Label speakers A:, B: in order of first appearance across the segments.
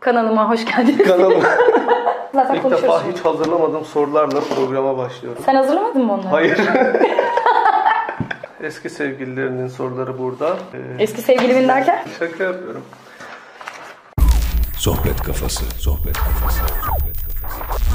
A: Kanalıma hoş geldiniz.
B: Kanalıma
A: Zaten
B: ilk defa
A: konuşuyoruz.
B: hiç hazırlamadığım sorularla programa başlıyorum.
A: Sen hazırlamadın mı onları?
B: Hayır. Eski sevgililerinin soruları burada. Ee,
A: Eski sevgilimin derken?
B: şaka yapıyorum.
C: Sohbet kafası, sohbet kafası, sohbet kafası.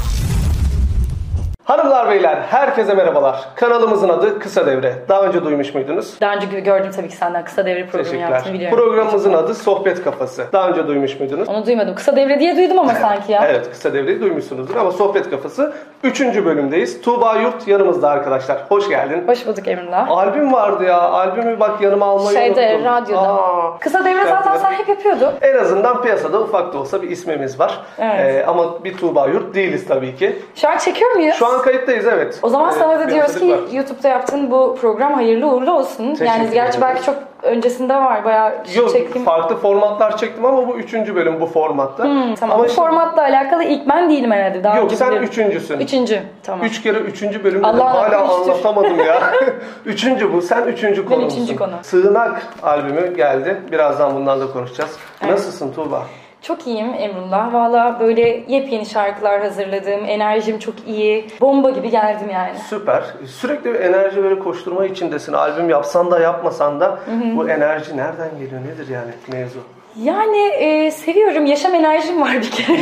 B: Hanımlar beyler herkese merhabalar. Kanalımızın adı Kısa Devre. Daha önce duymuş muydunuz?
A: Daha önce gibi gördüm tabii ki senden kısa devre programı yaptığını
B: Teşekkürler.
A: biliyorum.
B: Programımızın adı Sohbet Kafası. Daha önce duymuş muydunuz?
A: Onu duymadım. Kısa devre diye duydum ama sanki ya.
B: Evet kısa devreyi duymuşsunuzdur ama sohbet kafası 3. bölümdeyiz. Tuğba Yurt yanımızda arkadaşlar. Hoş geldin.
A: Hoş bulduk Emrullah.
B: Albüm vardı ya. Albümü bak yanıma almayı
A: Şeyde,
B: unuttum.
A: radyoda.
B: Aa.
A: kısa devre zaten sen hep yapıyordun.
B: En azından piyasada ufak da olsa bir ismimiz var.
A: Evet.
B: Ee, ama bir Tuğba Yurt değiliz tabii ki.
A: Şu an çekiyor muyuz?
B: Şu an kayıttayız evet.
A: O zaman
B: Ee,
A: sana da
B: bir
A: diyoruz ki
B: hazırlık var.
A: YouTube'da yaptığın bu program hayırlı uğurlu olsun. yani
B: Teşekkür
A: gerçi
B: ederim.
A: belki çok öncesinde var bayağı şey
B: Yok,
A: çektiğim.
B: farklı formatlar çektim ama bu üçüncü bölüm bu formatta.
A: Hmm, Tamam.
B: Ama
A: bu
B: işte-
A: formatla alakalı ilk ben değilim herhalde. Daha
B: Yok
A: önce
B: sen
A: biliyorum.
B: üçüncüsün.
A: Üçüncü. Tamam.
B: Üç kere üçüncü bölümde de
A: Allah
B: hala
A: Allah, üçtür.
B: anlatamadım ya. üçüncü bu. Sen üçüncü konumsun.
A: üçüncü konu.
B: Sığınak albümü geldi. Birazdan bundan da konuşacağız. Nasılsın Tuğba?
A: Çok iyiyim Emrullah. Valla böyle yepyeni şarkılar hazırladım. Enerjim çok iyi. Bomba gibi geldim yani.
B: Süper. Sürekli bir enerji böyle koşturma içindesin. Albüm yapsan da yapmasan da bu enerji nereden geliyor? Nedir yani mevzu?
A: Yani e, seviyorum. Yaşam enerjim var bir kere.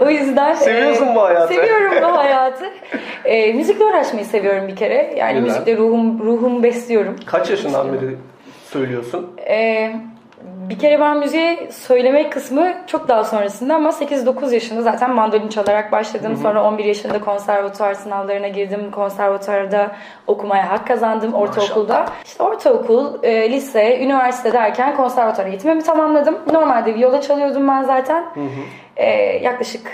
A: o yüzden... e,
B: Seviyorsun bu hayatı.
A: Seviyorum bu hayatı. E, müzikle uğraşmayı seviyorum bir kere. Yani
B: Güzel.
A: müzikle ruhum, ruhumu besliyorum.
B: Kaç
A: şey
B: yaşından beri söylüyorsun?
A: E, bir kere ben müziği söyleme kısmı çok daha sonrasında ama 8-9 yaşında zaten mandolin çalarak başladım. Sonra 11 yaşında konservatuar sınavlarına girdim. Konservatuarda okumaya hak kazandım ortaokulda. İşte ortaokul, e, lise, üniversite derken konservatuar eğitimimi tamamladım. Normalde viyola çalıyordum ben zaten. E, yaklaşık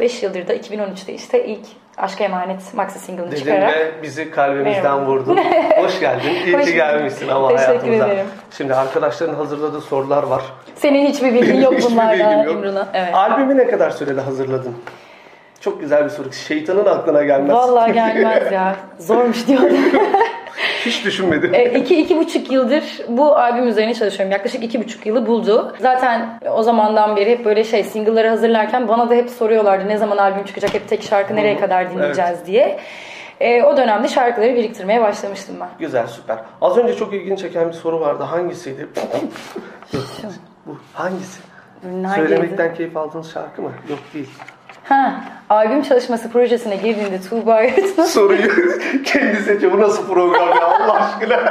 A: 5 yıldır da 2013'te işte ilk Aşka Emanet maxi single'ını
B: Dedin
A: çıkararak.
B: ve bizi kalbimizden
A: Merhaba.
B: vurdun. Hoş geldin. İyi
A: Hoş
B: ki
A: bulduk.
B: gelmişsin ama
A: Teşekkür
B: hayatımıza.
A: ederim.
B: Şimdi arkadaşların hazırladığı sorular var.
A: Senin hiçbir bilgin yok
B: Hiçbir
A: bunlarla
B: bilgim yok.
A: Emrullah. Evet.
B: Albümü ne kadar sürede hazırladın? Çok güzel bir soru. Şeytanın aklına gelmez.
A: Vallahi gelmez ya. Zormuş diyordum.
B: Hiç düşünmedim.
A: E, iki, iki buçuk yıldır bu albüm üzerine çalışıyorum. Yaklaşık iki buçuk yılı buldu. Zaten o zamandan beri hep böyle şey single'ları hazırlarken bana da hep soruyorlardı ne zaman albüm çıkacak hep tek şarkı nereye kadar dinleyeceğiz diye. E, o dönemde şarkıları biriktirmeye başlamıştım ben.
B: Güzel, süper. Az önce çok ilgini çeken bir soru vardı. Hangisiydi? Yok. Bu hangisi?
A: Nerede?
B: Söylemekten keyif aldığınız şarkı mı? Yok değil.
A: Ha, albüm çalışması projesine girdiğinde Tuğba Yırtın
B: Soruyu kendi seçiyor. Bu nasıl program ya Allah aşkına?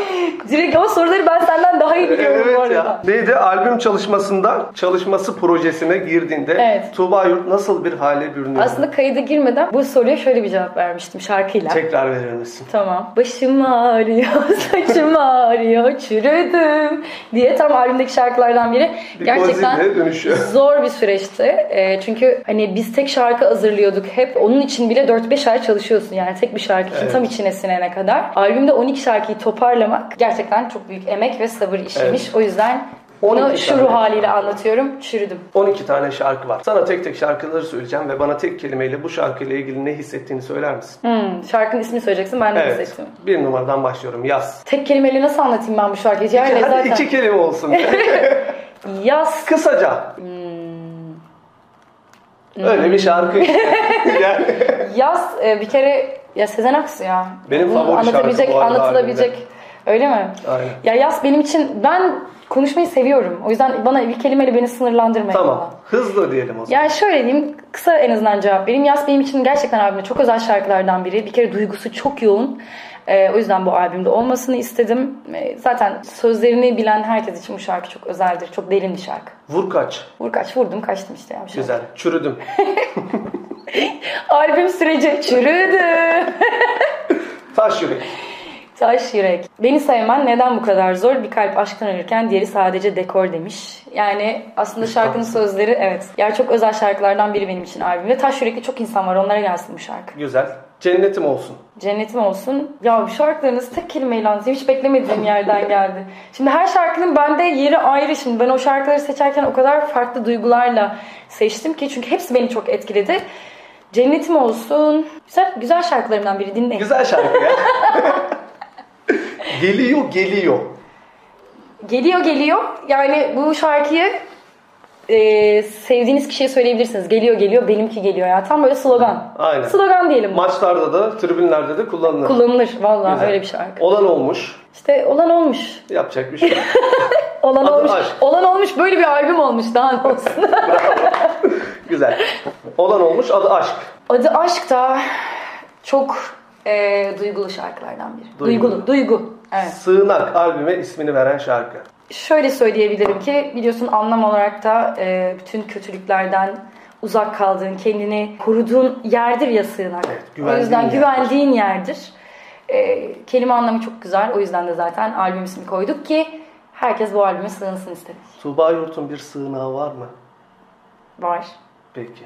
A: direkt o soruları ben senden daha iyi biliyorum bu
B: evet
A: arada.
B: ya. Neydi? Albüm çalışmasında çalışması projesine girdiğinde
A: Evet.
B: Tuğba Yurt nasıl bir hale bürünüyor?
A: Aslında kayda girmeden bu soruya şöyle bir cevap vermiştim şarkıyla.
B: Tekrar verir misin?
A: Tamam. Başım ağrıyor, saçım ağrıyor, çürüdüm diye tam albümdeki şarkılardan biri.
B: Bir
A: Gerçekten
B: kozine dönüşüyor.
A: zor bir süreçti. Ee, çünkü hani biz tek şarkı hazırlıyorduk hep. Onun için bile 4-5 ay çalışıyorsun. Yani tek bir şarkı için
B: Evet.
A: tam içine sinene kadar. Albümde 12 şarkıyı toparlamak gerçekten çok büyük emek ve sabır işiymiş. O yüzden onu
B: 12
A: şu
B: tane.
A: ruh haliyle anlatıyorum. Çürüdüm.
B: 12 tane şarkı var. Sana tek tek şarkıları söyleyeceğim ve bana tek kelimeyle bu şarkıyla ilgili ne hissettiğini söyler misin?
A: Hmm, şarkının ismini söyleyeceksin ben de
B: Evet.
A: hissettim.
B: Bir numaradan başlıyorum. Yaz.
A: Tek kelimeyle nasıl anlatayım ben bu şarkıyı? Yani
B: Hadi
A: zaten
B: iki kelime olsun.
A: yaz
B: Kısaca.
A: Hmm.
B: Öyle bir şarkı. işte. yani.
A: Yaz e, bir kere ya Sezen Aksu ya.
B: Benim
A: Bunu
B: favori şarkı
A: anlatabilecek,
B: bu arada
A: anlatılabilecek. Öyle mi?
B: Aynen.
A: Ya yaz benim için ben konuşmayı seviyorum. O yüzden bana bir kelimeyle beni sınırlandırmayın.
B: Tamam. Hızlı diyelim o zaman.
A: Yani şöyle diyeyim, kısa en azından cevap vereyim. Yas benim için gerçekten albümde çok özel şarkılardan biri. Bir kere duygusu çok yoğun. Ee, o yüzden bu albümde olmasını istedim. Ee, zaten sözlerini bilen herkes için bu şarkı çok özeldir. Çok derin bir şarkı.
B: Vur kaç.
A: Vur kaç vurdum kaçtım işte. Ya şey bu şarkı.
B: Güzel. Çürüdüm.
A: Albüm süreci çürüdü.
B: Taş yürek.
A: Taş yürek. Beni sevmen neden bu kadar zor? Bir kalp aşktan ölürken diğeri sadece dekor demiş. Yani aslında şarkının sözleri evet. Yani çok özel şarkılardan biri benim için albümde. Taş yürekli çok insan var onlara gelsin bu şarkı.
B: Güzel. Cennetim olsun.
A: Cennetim olsun. Ya bu şarkılarınız tek kelimeyle anlatayım. Hiç beklemediğim yerden geldi. Şimdi her şarkının bende yeri ayrı. Şimdi ben o şarkıları seçerken o kadar farklı duygularla seçtim ki. Çünkü hepsi beni çok etkiledi. Cennetim olsun. Güzel, güzel şarkılarımdan biri dinleyin.
B: Güzel şarkı ya. geliyor geliyor.
A: Geliyor geliyor. Yani bu şarkıyı e, sevdiğiniz kişiye söyleyebilirsiniz. Geliyor geliyor benimki geliyor ya. Tam böyle slogan.
B: Aynen.
A: Slogan diyelim.
B: Maçlarda da, tribünlerde de kullanılır.
A: Kullanılır valla
B: Güzel.
A: öyle bir şarkı.
B: Olan olmuş.
A: İşte olan olmuş.
B: Yapacak bir şey. yok.
A: Olan
B: Adı
A: olmuş.
B: aşk.
A: Olan olmuş böyle bir albüm olmuş daha ne olsun.
B: Güzel. Olan olmuş adı aşk.
A: Adı aşk da çok e, duygulu şarkılardan biri. Duygulu.
B: Duygulu.
A: Duygu. Evet.
B: Sığınak albüme ismini veren şarkı.
A: Şöyle söyleyebilirim ki biliyorsun anlam olarak da e, bütün kötülüklerden uzak kaldığın, kendini koruduğun yerdir ya sığınak. o
B: güvendiğin
A: yüzden
B: yerdir.
A: güvendiğin yerdir. E, kelime anlamı çok güzel. O yüzden de zaten albüm ismi koyduk ki herkes bu albüme sığınsın istedik.
B: Tuğba Yurt'un bir sığınağı var mı?
A: Var.
B: Peki.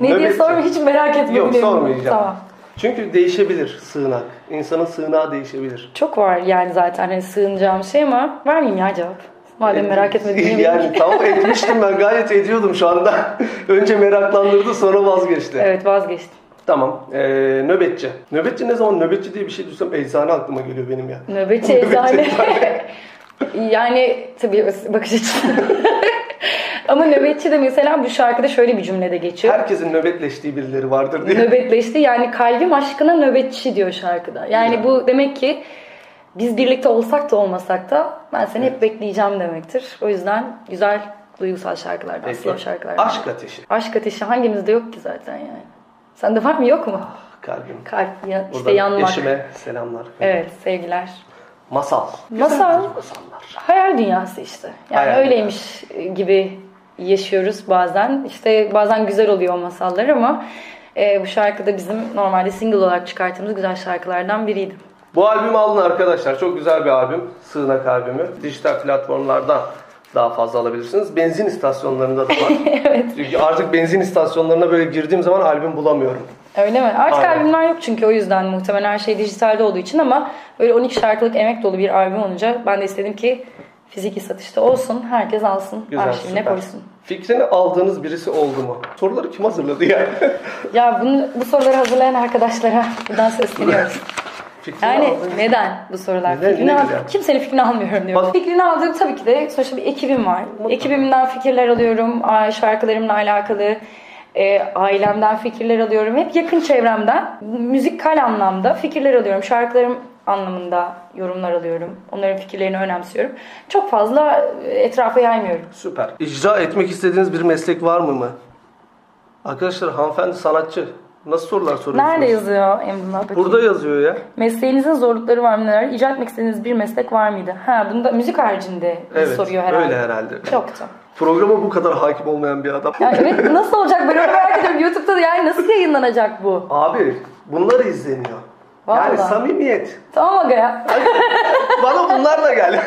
A: Ne diye
B: Nöbetçi.
A: sorma hiç merak etme.
B: şey. Yok
A: biliyorum.
B: sormayacağım.
A: Tamam.
B: Çünkü değişebilir sığınak. İnsanın sığınağı değişebilir.
A: Çok var yani zaten hani sığınacağım şey ama vermeyeyim ya cevap. Madem merak etmediğim
B: E, Yani tamam etmiştim ben gayet ediyordum şu anda. Önce meraklandırdı sonra vazgeçti.
A: Evet vazgeçtim.
B: Tamam. Ee, nöbetçi. Nöbetçi ne zaman nöbetçi diye bir şey duysam eczane aklıma geliyor benim ya.
A: Nöbetçi eczane. yani tabii bakış açısı. Ama nöbetçi de mesela bu şarkıda şöyle bir cümlede geçiyor.
B: Herkesin nöbetleştiği birileri vardır diye.
A: Nöbetleşti yani kalbim aşkına nöbetçi diyor şarkıda. Yani bu demek ki biz birlikte olsak da olmasak da ben seni hep bekleyeceğim demektir. O yüzden güzel duygusal şarkılardan, slow şarkılardan.
B: Aşk ateşi.
A: Aşk ateşi hangimizde yok ki zaten yani. Sende var mı yok mu?
B: Kalbim.
A: Kalp, ya, işte
B: Buradan
A: yanmak.
B: Ah. eşime selamlar.
A: Evet sevgiler.
B: Masal.
A: Masal.
B: Güzeldir Masallar.
A: Hayal dünyası işte. Yani
B: Hayal
A: öyleymiş gibi yaşıyoruz bazen. İşte bazen güzel oluyor o masallar ama e, bu şarkı da bizim normalde single olarak çıkarttığımız güzel şarkılardan biriydi.
B: Bu albümü alın arkadaşlar. Çok güzel bir albüm. Sığınak albümü. Dijital platformlardan daha fazla alabilirsiniz. Benzin istasyonlarında da var. Çünkü artık benzin istasyonlarına böyle girdiğim zaman albüm bulamıyorum.
A: Öyle mi? Artık
B: Aynen.
A: albümler yok çünkü o yüzden muhtemelen her şey dijitalde olduğu için ama böyle 12 şarkılık emek dolu bir albüm olunca ben de istedim ki fiziki satışta olsun, herkes alsın,
B: Güzel,
A: arşivine
B: süper.
A: koysun.
B: Fikrini aldığınız birisi oldu mu? Soruları kim hazırladı ya?
A: Ya bunu, bu soruları hazırlayan arkadaşlara buradan sesleniyoruz.
B: Fikrini
A: Yani
B: aldığınız-
A: neden bu sorular?
B: Neden?
A: Fikrini
B: Ne
A: al-
B: güzel.
A: kimsenin fikrini almıyorum diyorum.
B: Bak-
A: Fikrini aldığım tabii ki de sonuçta bir ekibim var. Ekibimden fikirler alıyorum. a- Şarkılarımla alakalı. e, ailemden fikirler alıyorum. Hep yakın çevremden müzikal anlamda fikirler alıyorum. Şarkılarım anlamında yorumlar alıyorum. Onların fikirlerini önemsiyorum. Çok fazla e, etrafa yaymıyorum.
B: Süper. İcra etmek istediğiniz bir meslek var mı mı? Arkadaşlar hanımefendi sanatçı. Nasıl sorular soruyorsunuz?
A: Nerede yazıyor Emrullah? Bakayım.
B: Burada yazıyor ya.
A: Mesleğinizin zorlukları var mı neler? İcat etmek istediğiniz bir meslek var mıydı? Ha bunda müzik haricinde
B: Evet.
A: soruyor herhalde.
B: Öyle herhalde.
A: Yoktu.
B: Programa bu kadar hakim olmayan bir adam.
A: Yani evet nasıl olacak ben onu merak ediyorum. YouTube'da da yani nasıl yayınlanacak bu?
B: Abi bunlar izleniyor. Yani
A: Vallahi.
B: samimiyet.
A: Tamam aga ya.
B: Bana bunlarla gel.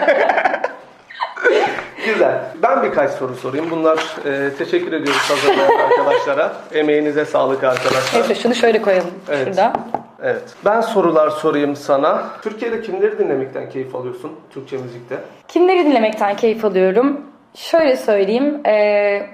B: Güzel. Ben birkaç soru sorayım. Bunlar e, teşekkür ediyoruz hazırlayan arkadaşlara. Emeğinize sağlık arkadaşlar.
A: Neyse şunu şöyle koyalım
B: Evet.
A: şurada.
B: Evet. Ben sorular sorayım sana. Türkiye'de kimleri dinlemekten keyif alıyorsun Türkçe müzikte?
A: Kimleri dinlemekten keyif alıyorum? Şöyle söyleyeyim. eee,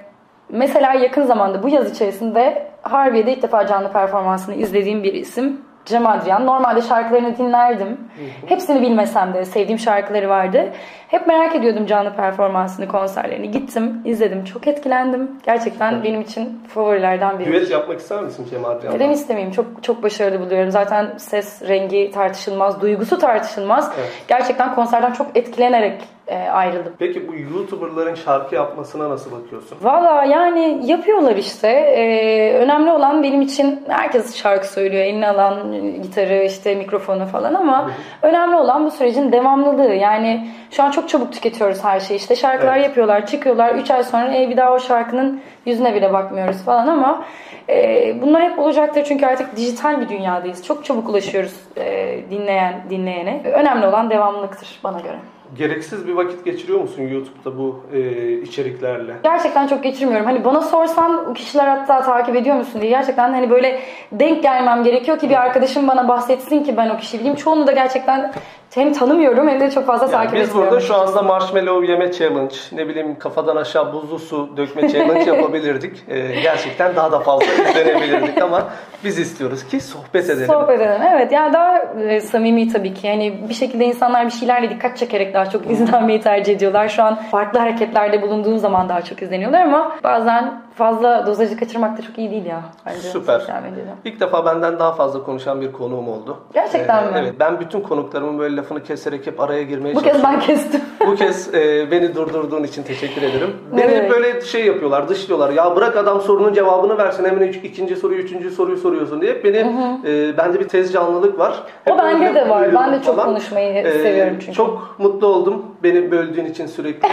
A: mesela yakın zamanda bu yaz içerisinde Harbiye'de ilk defa canlı performansını izlediğim bir isim. Cem Adrian. Normalde şarkılarını dinlerdim. Hepsini bilmesem de sevdiğim şarkıları vardı. Hep merak ediyordum canlı performansını, konserlerini. Gittim, izledim. Çok etkilendim. Gerçekten benim için favorilerden biri.
B: Düet yapmak ister misin Kemal Adrian'la?
A: Neden istemeyeyim? Çok çok başarılı buluyorum. Zaten ses rengi tartışılmaz, duygusu tartışılmaz.
B: Evet.
A: Gerçekten konserden çok etkilenerek e, ayrıldım.
B: Peki bu YouTuber'ların şarkı yapmasına nasıl bakıyorsun?
A: Valla yani yapıyorlar işte. E, önemli olan benim için herkes şarkı söylüyor. Eline alan e, gitarı, işte mikrofonu falan ama önemli olan bu sürecin devamlılığı. Yani şu an çok çabuk tüketiyoruz her şeyi. İşte şarkılar
B: Evet.
A: yapıyorlar, çıkıyorlar. 3 ay sonra e, bir daha o şarkının yüzüne bile bakmıyoruz falan ama e, bunlar hep olacaktır çünkü artık dijital bir dünyadayız. Çok çabuk ulaşıyoruz e, dinleyen dinleyene. Önemli olan devamlılıktır bana göre.
B: Gereksiz bir vakit geçiriyor musun YouTube'da bu e, içeriklerle?
A: Gerçekten çok geçirmiyorum. Hani bana sorsan o kişiler hatta takip ediyor musun diye. Gerçekten hani böyle denk gelmem gerekiyor ki bir arkadaşım bana bahsetsin ki ben o kişiyi bileyim. Çoğunu da gerçekten hem tanımıyorum hem de çok fazla
B: Yani
A: takip
B: biz
A: etmiyorum.
B: burada şu anda marshmallow yeme challenge, ne bileyim kafadan aşağı buzlu su dökme challenge yapabilirdik. Ee, gerçekten daha da fazla izlenebilirdik ama biz istiyoruz ki sohbet edelim.
A: Sohbet edelim. Evet yani daha e, samimi tabii ki. Yani bir şekilde insanlar bir şeylerle dikkat çekerek daha çok izlenmeyi tercih ediyorlar. Şu an farklı hareketlerde bulunduğun zaman daha çok izleniyorlar ama bazen fazla dozajı kaçırmak da çok iyi değil ya. Bence
B: Süper.
A: sosyal medyada.
B: İlk defa benden daha fazla konuşan bir konuğum oldu. Ee,
A: Gerçekten mi?
B: Evet. Ben bütün konuklarımın böyle lafını keserek hep araya girmeye
A: Bu kez ben kestim.
B: Bu kez e, beni durdurduğun için teşekkür ederim.
A: Ne
B: Beni
A: demek?
B: böyle şey yapıyorlar, dışlıyorlar. Ya bırak adam sorunun cevabını versin hemen üç- ikinci soruyu, üçüncü soruyu soruyorsun diye. hep Beni, e, bende bir tez canlılık var.
A: O bende
B: öyle
A: de var.
B: buyuruyorum
A: Ben de çok konuşmayı seviyorum çünkü.
B: E, Ee, Çok mutlu oldum beni böldüğün için sürekli.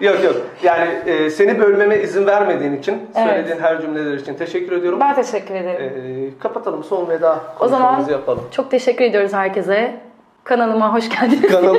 B: yok yok. Yani e, seni bölmeme izin vermediğin için,
A: Evet.
B: söylediğin her cümleler için teşekkür ediyorum.
A: Ben teşekkür ederim.
B: E, kapatalım son veda
A: O zaman-
B: konuşmamızı yapalım.
A: Çok teşekkür ediyoruz herkese. Kanalıma hoş geldiniz.
B: Kanalı.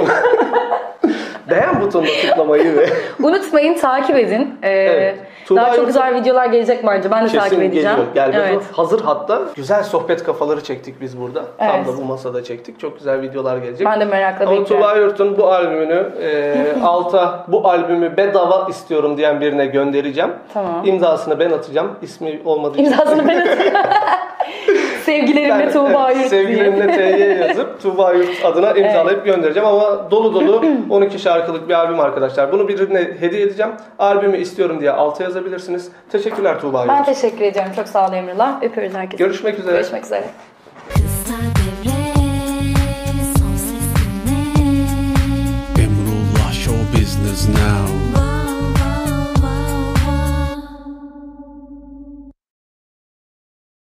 B: Beğen butonuna tıklamayı ve...
A: Unutmayın takip edin. Ee,
B: Evet. Tuğba
A: Daha çok
B: Yurtta-
A: güzel videolar gelecek bence. Ben de
B: Kesin
A: takip edeceğim.
B: geliyor. Gel bakalım.
A: evet.
B: Hazır hatta güzel sohbet kafaları çektik biz burada.
A: Evet.
B: Tam da bu masada çektik. Çok güzel videolar gelecek.
A: Ben de merakla
B: Ama
A: bekliyorum.
B: Tuğba Yurt'un bu albümünü e, alta bu albümü bedava istiyorum diyen birine göndereceğim.
A: Tamam.
B: İmzasını ben atacağım. İsmi olmadığı için.
A: İmzasını ben atayım.
B: Ben,
A: Sevgilerimle Tuğba Yurt
B: evet,
A: diye.
B: Sevgilimle TY yazıp Tuğba Yurt adına imzalayıp göndereceğim ama dolu dolu 12 şarkılık bir albüm arkadaşlar. Bunu birine hediye edeceğim. Albümü istiyorum diye alta yazabilirsiniz. Teşekkürler Tuğba Yurt.
A: Ben teşekkür ediyorum. Çok sağ ol Emrullah. Öpüyoruz herkese.
B: Görüşmek üzere.
A: Görüşmek üzere.